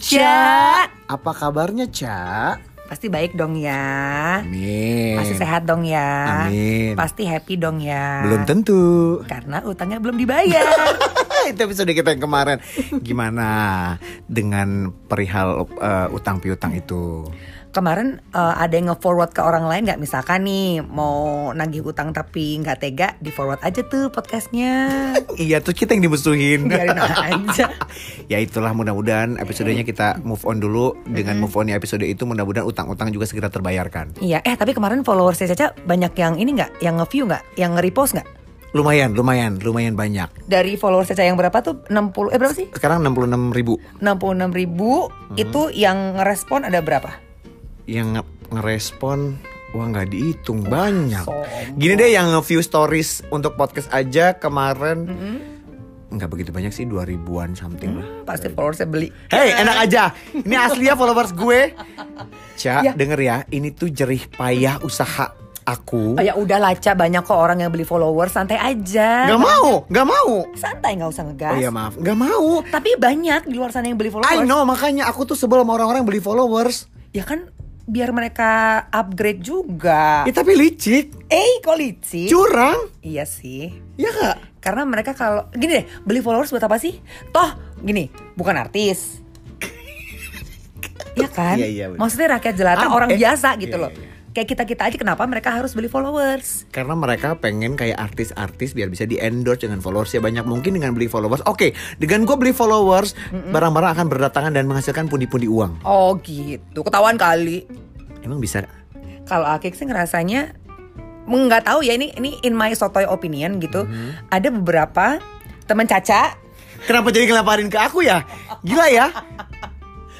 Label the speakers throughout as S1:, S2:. S1: Ca.
S2: Apa kabarnya, Ca?
S1: Pasti baik dong ya.
S2: Amin.
S1: Pasti sehat dong ya.
S2: Amin.
S1: Pasti happy dong ya.
S2: Belum tentu.
S1: Karena utangnya belum dibayar.
S2: Ah, Itu episode kita yang kemarin. Gimana dengan perihal eh, utang piutang itu?
S1: Kemarin eh, ada yang nge-forward ke orang lain nggak? Misalkan nih mau nagih utang tapi nggak tega, di-forward aja tuh podcastnya.
S2: Iya, terus kita yang dimusuhin.
S1: Biarin aja.
S2: Iya. ya itulah mudah-mudahan episodenya kita move on dulu dengan move onnya episode itu mudah-mudahan utang-utang juga segera terbayarkan.
S1: Iya, eh tapi kemarin followersnya Caca banyak yang ini nggak? Yang nge-view nggak? Yang nge-repost nggak?
S2: Lumayan, lumayan, lumayan banyak.
S1: Dari followers Caca yang berapa tuh? 60, eh berapa sih?
S2: Sekarang 66 ribu
S1: 66 ribu
S2: Hmm.
S1: itu yang ngerespon ada berapa?
S2: yang nge- ngerespon wah nggak dihitung banyak.
S1: sombong.
S2: Gini deh yang view stories untuk podcast aja kemarin
S1: Mm-hmm.
S2: nggak begitu banyak sih 2000-an something lah.
S1: Pasti followersnya beli.
S2: Hey, enak aja. Ini asli ya followers gue. Cak,
S1: Ya.
S2: denger ya, ini tuh jerih payah usaha aku.
S1: Oh, ya udah laca banyak kok orang yang beli followers santai aja.
S2: Gak mau, gak mau.
S1: Santai nggak usah ngegas.
S2: Oh iya maaf, gak mau.
S1: Tapi banyak di luar sana yang beli
S2: I
S1: followers.
S2: know makanya aku tuh sebel sama orang-orang yang beli followers.
S1: Ya kan biar mereka upgrade juga.
S2: Ya tapi licik,
S1: Eh, kok licik?
S2: curang,
S1: Iya sih.
S2: ya kak?
S1: Karena mereka kalau gini deh, beli followers buat apa sih? Toh gini, bukan artis. Iya kan?
S2: Iya, iya, bener.
S1: Maksudnya rakyat jelata
S2: Ah,
S1: orang
S2: eh,
S1: biasa gitu
S2: iya,
S1: loh.
S2: iya,
S1: Kayak kita-kita aja kenapa mereka harus beli followers?
S2: Karena mereka pengen kayak artis-artis biar bisa di-endorse dengan followers ya banyak mungkin dengan beli followers. Oke, dengan gue beli followers, barang-barang akan berdatangan dan menghasilkan pundi-pundi uang.
S1: Oh gitu, ketahuan kali.
S2: Emang bisa?
S1: Kalau Akik sih ngerasanya nggak tahu ya ini ini in my sotoy opinion gitu.
S2: Mm-hmm.
S1: Ada beberapa teman Caca
S2: Kenapa jadi ngelaparin ke aku ya? Gila ya?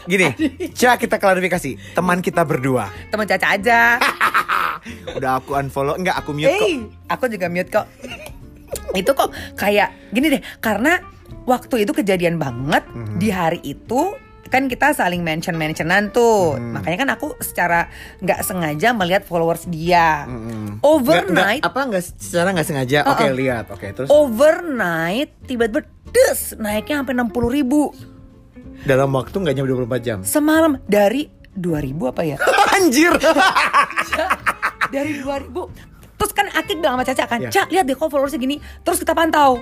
S2: Gini, Ca kita klarifikasi Teman kita berdua
S1: teman Caca aja.
S2: Udah aku unfollow, enggak aku mute kok
S1: hey, aku juga mute kok. itu kok kayak gini deh, karena waktu itu kejadian banget
S2: Mm-hmm.
S1: di hari itu kan kita saling mention mentionan tuh,
S2: Mm-hmm.
S1: makanya kan aku secara nggak sengaja melihat followers dia.
S2: Mm-hmm. Nggak- nggak-
S1: Overnight, Uh-uh. Oh.
S2: Apa Hmm. enggak secara enggak sengaja Oke lihat, oke terus
S1: overnight tiba-tiba des naiknya sampai 60.000 ribu
S2: Dalam waktu enggak nyampe 24 jam
S1: semalam dari 2000 apa ya?
S2: Anjir
S1: dari 2000 terus kan Akik bilang sama Caca kan
S2: Iya. Hmm.
S1: Cak lihat deh kok followersnya gini terus kita pantau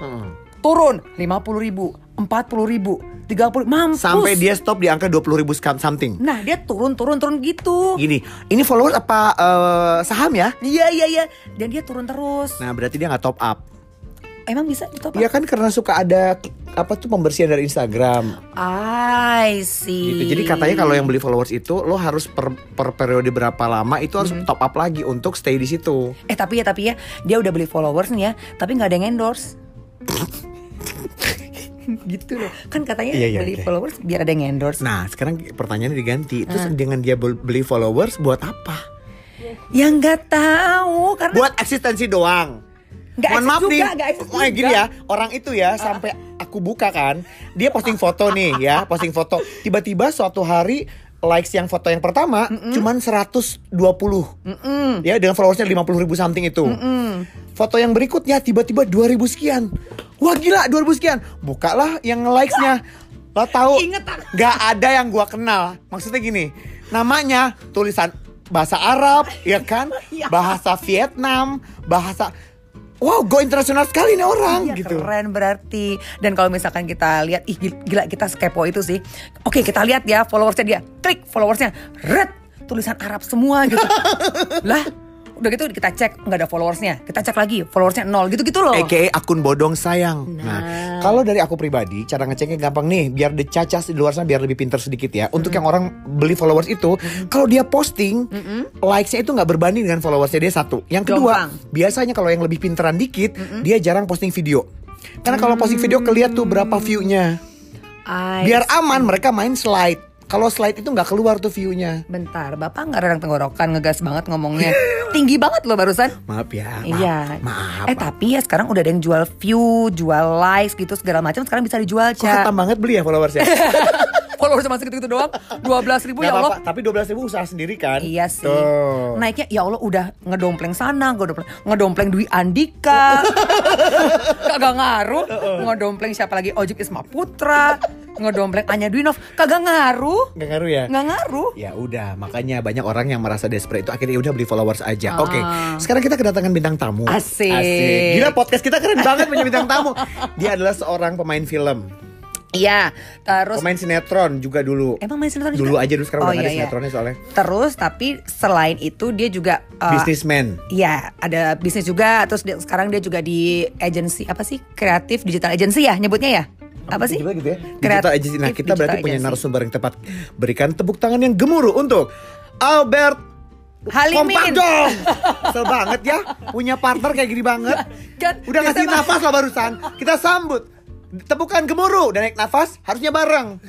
S1: turun 50.000 ribu 40 ribu 30 mampus
S2: Sampai dia stop di angka 20 ribu something
S1: nah dia turun turun turun gitu
S2: Gini, ini followers apa eh, saham ya?
S1: iya iya iya dan dia turun terus
S2: Nah berarti dia nggak top up
S1: emang bisa gitu apa?
S2: Iya kan karena suka ada apa tuh pembersihan dari Instagram
S1: I see
S2: gitu. Jadi katanya kalau yang beli followers itu lo harus per, per periode berapa lama itu harus top up lagi untuk stay di situ.
S1: eh tapi ya tapi ya dia udah beli followers nih ya tapi nggak ada yang endorse gitu loh kan katanya
S2: Iya, iya,
S1: beli
S2: oke.
S1: followers biar ada yang endorse
S2: Nah sekarang pertanyaannya diganti. Terus dengan dia bel- beli followers buat apa?
S1: yang Ya nggak tahu karena
S2: Buat eksistensi doang.
S1: Nggak
S2: Mohon
S1: eksis
S2: maaf
S1: juga,
S2: nih,
S1: nggak eksis
S2: Wah, gini
S1: juga.
S2: ya, orang itu ya sampai aku buka kan, dia posting foto nih ya, posting foto. Tiba-tiba suatu hari likes yang foto yang pertama cuman 120. Ya dengan followersnya 50 ribu something itu. Foto yang berikutnya tiba-tiba 2000 sekian. Wah gila 2000 sekian. Bukalah yang likesnya. Lo tahu
S1: Ingat aku.
S2: nggak ada yang gua kenal. Maksudnya gini, namanya tulisan bahasa Arab, ya kan?
S1: Iya.
S2: Bahasa Vietnam, bahasa Wow, go internasional sekali nih orang
S1: Iya,
S2: gitu.
S1: keren berarti. Dan kalau misalkan kita lihat, ih gil- gila kita skepo itu sih. Oke kita lihat ya followersnya dia, klik followersnya, red tulisan Arab semua gitu. lah, udah gitu kita cek nggak ada followersnya, kita cek lagi followersnya nol gitu-gitu loh.
S2: AKA akun bodong sayang. Nah,
S1: Nah.
S2: kalau dari aku pribadi, cara ngeceknya gampang nih, biar decacas di luar sana biar lebih pinter sedikit ya. Untuk yang orang beli followers itu, kalau dia posting, likes-nya itu nggak berbanding dengan followersnya dia satu. Yang kedua,
S1: Jomplang.
S2: biasanya kalau yang lebih pinteran dikit, dia jarang posting video. Karena kalau posting
S1: Mm.
S2: video keliat tuh berapa view-nya.
S1: Ay,
S2: Biar aman mereka main slide. Kalau slide itu nggak keluar tuh view-nya.
S1: Bentar, bapak nggak radang tenggorokan ngegas banget ngomongnya. Tinggi banget loh barusan.
S2: Maaf ya. Maaf.
S1: Iya.
S2: Maaf.
S1: Eh tapi ya sekarang udah ada yang jual view, jual likes gitu segala macam. Sekarang bisa dijual
S2: Kok
S1: cak.
S2: ketam banget beli ya followersnya?
S1: Followers masih gitu-gitu doang. 12.000 ribu ya
S2: Nggak
S1: Allah.
S2: apa-apa, tapi 12 ribu usaha sendiri kan?
S1: Iya sih.
S2: Tuh.
S1: Naiknya ya Allah udah ngedompleng sana, ngedompleng, ngedompleng Dwi Andika. Kagak ngaruh. Ngedompleng siapa lagi? Ojek Isma Putra. ngedompleng Anya Dwinov kagak ngaruh
S2: Gak ngaruh ya?
S1: nggak ngaruh
S2: Ya udah, makanya banyak orang yang merasa desperate itu akhirnya ya udah beli followers aja.
S1: Ah.
S2: Oke, sekarang kita kedatangan bintang tamu.
S1: Asik.
S2: Gila podcast kita keren banget punya bintang tamu. Dia adalah seorang pemain film,
S1: iya terus
S2: pemain sinetron juga dulu.
S1: emang main sinetron juga?
S2: Dulu aja dulu sekarang
S1: Oh,
S2: udah nggak
S1: iya,
S2: ada
S1: iya.
S2: sinetronnya soalnya.
S1: terus tapi selain itu dia juga eh,
S2: Businessman.
S1: Iya, ada bisnis juga. Terus dia- sekarang dia juga di agency apa sih? Kreatif digital agency ya nyebutnya ya? Apa sih?
S2: Digital gitu ya. Digital
S1: Kreatif
S2: agency. Nah, kita
S1: digital
S2: berarti punya
S1: agency.
S2: narasumber yang tepat. Berikan tepuk tangan yang gemuruh untuk Albert
S1: Halimin.
S2: Kompak dong. Kesel banget ya punya partner kayak gini banget.
S1: Kan,
S2: Udah ngasih
S1: biasa
S2: nafas loh barusan. Kita sambut. Tepukan gemuruh dan naik nafas harusnya bareng.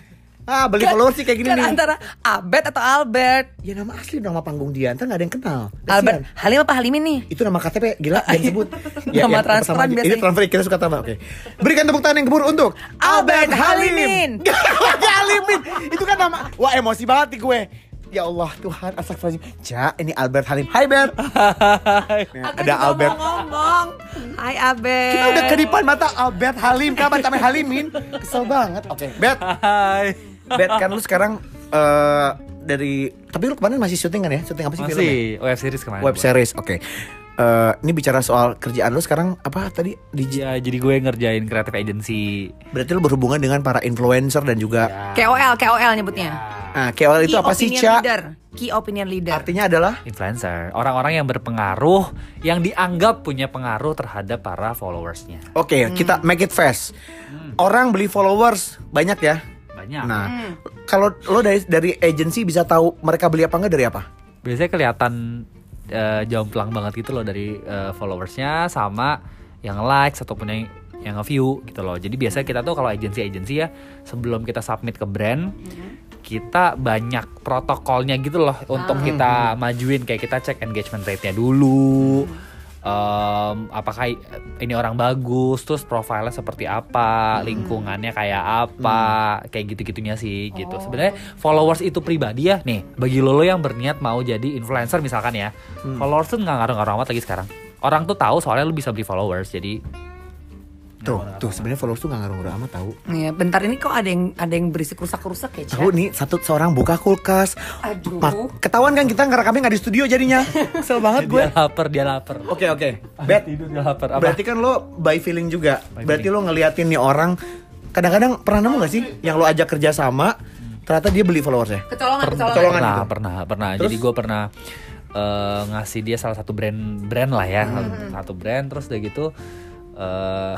S2: Ah, beli followers sih kayak gini
S1: Kan
S2: nih.
S1: antara Abed atau Albert?
S2: Ya nama asli dong, nama panggung dia, ntar gak ada yang kenal. Kasian.
S1: Albert Halim apa Halimin nih?
S2: Itu nama KTP, gila yang sebut.
S1: Ah, iya. Nama
S2: yang
S1: transferan
S2: pertama aja.
S1: biasanya.
S2: Ini transfer kita suka tambah, oke. Berikan tepuk tangan yang gemuruh untuk
S1: Albert Halimin.
S2: Albert Halimin. Itu kan nama. Wah, emosi banget nih gue. Ya Allah, Tuhan, astagfirullahaladzim. Ja, ini Albert Halim. Hai, Bert. Nah,
S1: Aku
S2: ada
S1: juga
S2: Albert.
S1: mau ngomong. Hai Abed.
S2: Kita udah kedipan mata Albert Halim, kenapa namanya Halimin? Kesel banget. Oke, Bet.
S3: Hai.
S2: Bet kan lu sekarang eh, dari tapi lu kemarin masih syuting kan ya? Syuting apa sih filmnya?
S3: Masih web series kemarin.
S2: Web series. Oke. Eh, ini bicara soal kerjaan lu sekarang apa tadi? Digi-
S3: Ya, jadi gue ngerjain creative agency.
S2: Berarti lu berhubungan dengan para influencer dan juga
S1: KOL, KOL nyebutnya.
S2: Nah, KOL
S1: Key
S2: itu apa
S1: Iya,
S2: sih,
S1: opinion
S2: Ca?
S1: Leader. Key opinion leader.
S2: Artinya adalah
S3: Influencer, orang-orang yang berpengaruh, yang dianggap punya pengaruh terhadap para followersnya.
S2: Oke,
S1: Hmm.
S2: kita make it fast. Orang beli followers banyak ya.
S3: Banyak.
S2: Hmm. Nah,
S1: Hmm.
S2: kalau lo dari dari agensi bisa tahu mereka beli apa enggak dari apa?
S3: Biasanya kelihatan eh, jomplang banget gitu loh dari eh, followersnya sama yang likes ataupun yang yang nge-view gitu loh. Jadi biasanya kita tuh kalau agensi-agensi ya sebelum kita submit ke brand kita banyak protokolnya gitu loh
S2: Ah.
S3: untuk kita
S2: Mm-hmm.
S3: majuin kayak kita cek engagement rate-nya dulu.
S2: Mm-hmm.
S3: em, apakah i- ini orang bagus, terus profilnya seperti
S2: Mm-hmm.
S3: apa, lingkungannya kayak apa, kayak gitu-gitunya sih
S2: Oh.
S3: gitu. Sebenarnya followers itu pribadi ya nih. Bagi lo, lo yang berniat mau jadi influencer misalkan ya,
S2: Mm.
S3: followers tuh nggak ngaruh-ngaruh amat lagi sekarang. Orang tuh tahu soalnya lo bisa beli followers, jadi
S2: Tuh, tuh sebenarnya followers tuh nggak ngaruh-ngaruh amat tahu.
S1: Iya, bentar ini kok ada yang ada yang berisik rusak-rusak ya, Ca?
S2: Tahu nih satu seorang buka kulkas.
S1: Aduh.
S2: Mak- ketahuan kan kita ngerekamnya nggak di studio jadinya. Kesel banget gue.
S3: dia lapar, dia lapar.
S2: Oke oke. Bet.
S3: tidur dia lapar. Apa?
S2: Berarti kan lo by feeling juga. Berarti lo ngeliatin nih orang. Kadang-kadang pernah nemu gak sih yang lo ajak kerja sama, ternyata dia beli followersnya.
S1: Kecolongan, kecolongan.
S2: kecolongan.
S3: Nah, pernah,
S2: gitu?
S3: pernah, pernah.
S2: Terus?
S3: Jadi gue pernah eh, ngasih dia salah satu brand brand lah ya, satu brand. Terus udah gitu. eh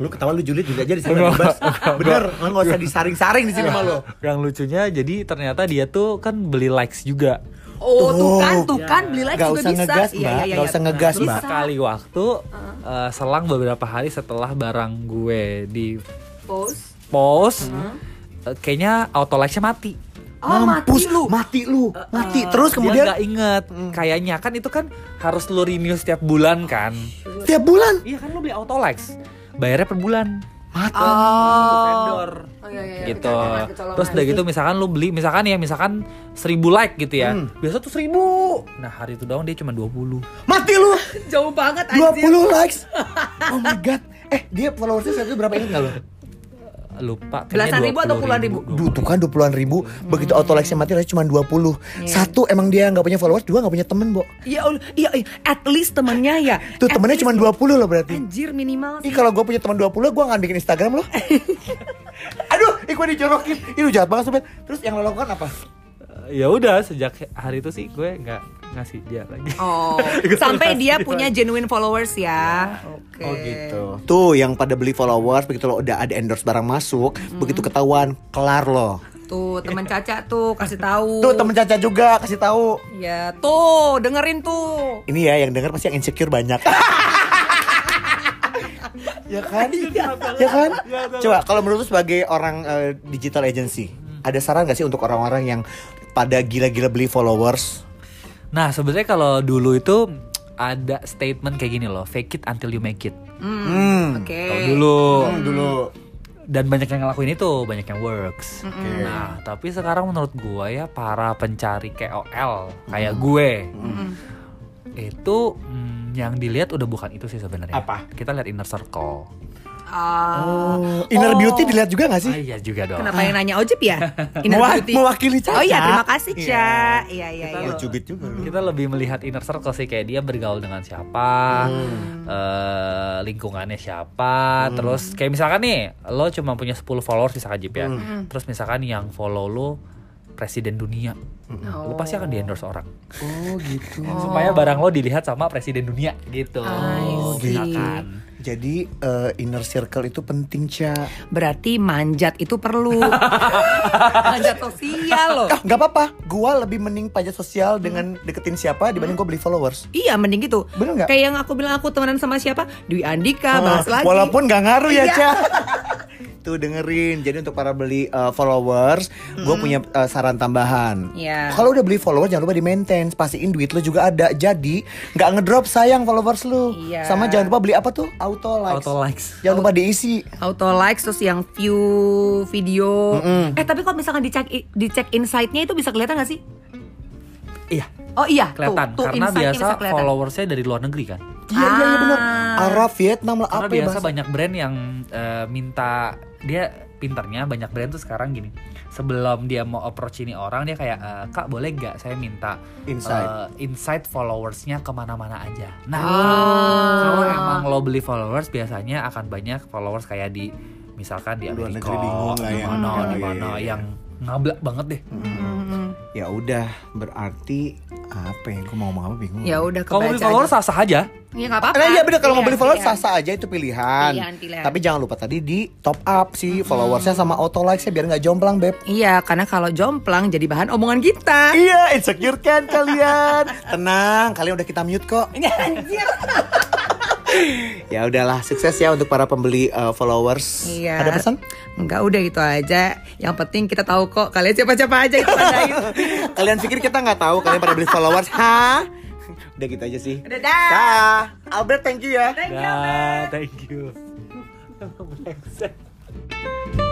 S2: Lu ketawa lu julid juga aja di sini bebas. Bener, lo nggak usah disaring-saring di sini sama lo.
S3: yang lucunya jadi ternyata dia tuh kan beli likes juga.
S1: Oh, tuh kan, tuh
S2: Tuh.
S1: kan beli lagi
S2: Nggak
S1: juga
S2: usah
S1: bisa. iya,
S2: ngegas, Mbak. Nggak usah ngegas,
S1: Bisa.
S2: Mbak.
S3: Sekali waktu eh, selang beberapa hari setelah barang gue di
S1: Post.
S3: post, eh, kayaknya auto likes-nya mati.
S1: Oh, mati lu.
S2: mati lu, mati.
S3: Eh,
S2: Terus
S3: dia
S2: kemudian
S3: nggak inget, kayaknya kan itu kan harus lu renew setiap bulan kan.
S2: tiap bulan
S3: Iya kan lu beli auto likes, bayarnya per bulan.
S2: mati.
S3: Ah.
S1: Oh.
S3: vendor
S1: iya,
S3: gitu terus udah gitu misalkan lu beli misalkan ya misalkan 1000 like gitu ya biasa tuh 1000 nah hari itu doang dia cuma 20
S2: Mati lu.
S1: jauh banget
S2: 20 likes. Oh my god. Eh, dia followersnya saat itu berapa inget nggak lo?
S3: lupa
S1: Belasan ribu atau puluhan ribu?
S2: Duh, tuh kan 20-an ribu, begitu auto likes mati likes cuma 20. Satu emang dia nggak punya followers, dua nggak punya temen, Bo.
S1: Iya, Allah, iya, iya. at least temennya ya.
S2: Tuh
S1: At
S2: temennya
S1: least-
S2: cuma 20 loh berarti.
S1: anjir minimal.
S2: Ih kalau gue punya teman 20 gue akan bikin Instagram lo Aduh, ih gue dijorokin Ih lu jahat banget sobat Terus yang lo lakukan apa?
S3: ya udah sejak hari itu sih gue nggak ngasih dia lagi
S1: Oh, sampai
S2: iya.
S1: dia punya genuine followers ya.
S2: Oh,
S1: Oke.
S2: gitu. Tuh yang pada beli followers Begitu lo udah ada endorse barang masuk Begitu ketahuan, kelar lo
S1: Tuh, teman Caca tuh kasih tahu.
S2: Tuh temen Caca juga kasih tahu
S1: Ya, tuh, dengerin tuh.
S2: Ini ya yang denger pasti yang insecure banyak Ya kan?
S1: Iya,
S2: ya kan? Coba kalau menurut lu sebagai orang eh, digital agency
S1: Mm.
S2: Ada saran gak sih untuk orang-orang yang pada gila-gila beli followers
S3: nah sebenarnya kalau dulu itu ada statement kayak gini loh fake it until you make it
S2: Hmm,
S1: Oke.
S3: kalau dulu
S2: dulu
S3: Eh. dan banyak yang ngelakuin itu banyak yang works nah tapi sekarang menurut gue ya para pencari KOL kayak gue itu mm, yang dilihat udah bukan itu sih sebenarnya
S2: Apa?
S3: kita lihat inner circle
S2: Oh, inner beauty dilihat juga gak sih?
S3: Ah, iya juga dong.
S1: Ah, Kenapa yang nanya ojek ya? Inner
S2: Mewa-
S1: beauty.
S2: mewakili Caca.
S1: Oh iya, terima kasih
S2: Iya.
S1: Ca. Iya, iya,
S3: Kita
S1: iya.
S2: Oh, cubit juga lu.
S3: Kita lebih melihat inner circle sih kayak dia bergaul dengan siapa,
S2: Hmm.
S3: eh, lingkungannya siapa, terus kayak misalkan nih lo cuma punya 10 followers misalkan Jip ya.
S2: Hmm.
S1: Hmm.
S3: Terus misalkan yang follow lo presiden dunia. Lo pasti akan di endorse orang.
S2: Hmm. Oh gitu.
S3: Supaya barang lo dilihat sama presiden dunia gitu.
S1: I
S2: Oh,
S1: see.
S2: gitu. Jadi eh, inner circle itu penting, Ca.
S1: Berarti manjat itu perlu. manjat sosial loh.
S2: Ah, nggak apa-apa. Gua lebih mending pajak sosial dengan
S1: Hmm.
S2: deketin siapa dibanding gua beli followers.
S1: Iya mending gitu
S2: Bener nggak?
S1: Kayak yang aku bilang aku temenan sama siapa Dwi Andika bahas
S2: Ah,
S1: lagi
S2: Walaupun nggak ngaruh ya,
S1: Iya.
S2: Ca. Tuh dengerin. Jadi untuk para beli uh, followers, gue punya uh, saran
S1: Hmm.
S2: tambahan.
S1: Iya.
S2: Kalau udah beli followers jangan lupa di maintain, pastiin duit lu juga ada. Jadi nggak ngedrop sayang followers lu.
S1: Iya.
S2: Sama jangan lupa beli apa tuh? Auto likes.
S3: Auto likes.
S2: Jangan lupa diisi.
S1: Auto likes terus yang view video Eh tapi kalau misalkan dicek dicek insight-nya itu bisa kelihatan gak sih?
S3: Iya,
S1: Oh iya
S3: kelihatan
S1: tuh, tuh
S3: karena
S1: insight-nya
S3: biasa
S1: bisa kelihatan.
S3: followersnya dari luar negeri kan.
S2: Iya, iya, iya benar.
S1: Ah.
S2: Arab, Vietnam lah
S3: Karena
S2: apa ya
S3: biasa
S2: bahasa.
S3: banyak brand yang eh, minta dia pinternya banyak brand tuh sekarang gini sebelum dia mau approach ini orang dia kayak eh, kak boleh nggak saya minta
S2: Insight.
S3: eh, insight followersnya kemana-mana aja. Nah
S1: Ah.
S3: kalau emang lo beli followers biasanya akan banyak followers kayak di misalkan di
S2: Luar
S3: Amerika,
S2: negeri bingung lah
S3: di
S2: ya.
S3: mana,
S2: Oh,
S3: di
S2: iya,
S3: mana
S2: iya, iya.
S3: yang ngablak banget deh.
S2: Ya udah, berarti apa ya? Gue mau ngomong apa bingung.
S1: Ya udah
S3: Kalau
S1: kebaca
S3: beli followers
S1: aja.
S3: sah-sah aja.
S1: Ya nggak apa-apa
S2: Nah iya bener kalau mau beli followers
S1: pilihan.
S2: sah-sah aja itu pilihan.
S1: Pilihan, pilihan.
S2: Tapi jangan lupa tadi di top up sih followersnya sama auto likesnya biar nggak jomplang beb.
S1: Iya karena kalau jomplang jadi bahan omongan kita
S2: Iya insecure kan kalian. Tenang kalian udah kita mute kok.
S1: Anjir
S2: Ya udahlah sukses ya untuk para pembeli uh, followers.
S1: Iya.
S2: Ada pesan?
S1: Enggak udah gitu aja Yang penting kita tahu kok Kalian siapa-siapa aja itu padain
S2: kalian pikir kita nggak tahu kalian pada beli followers? Hah? Udah gitu aja sih.
S1: Dadah.
S2: Dah. Albert thank you ya.
S3: Dah, thank you. Brengsek.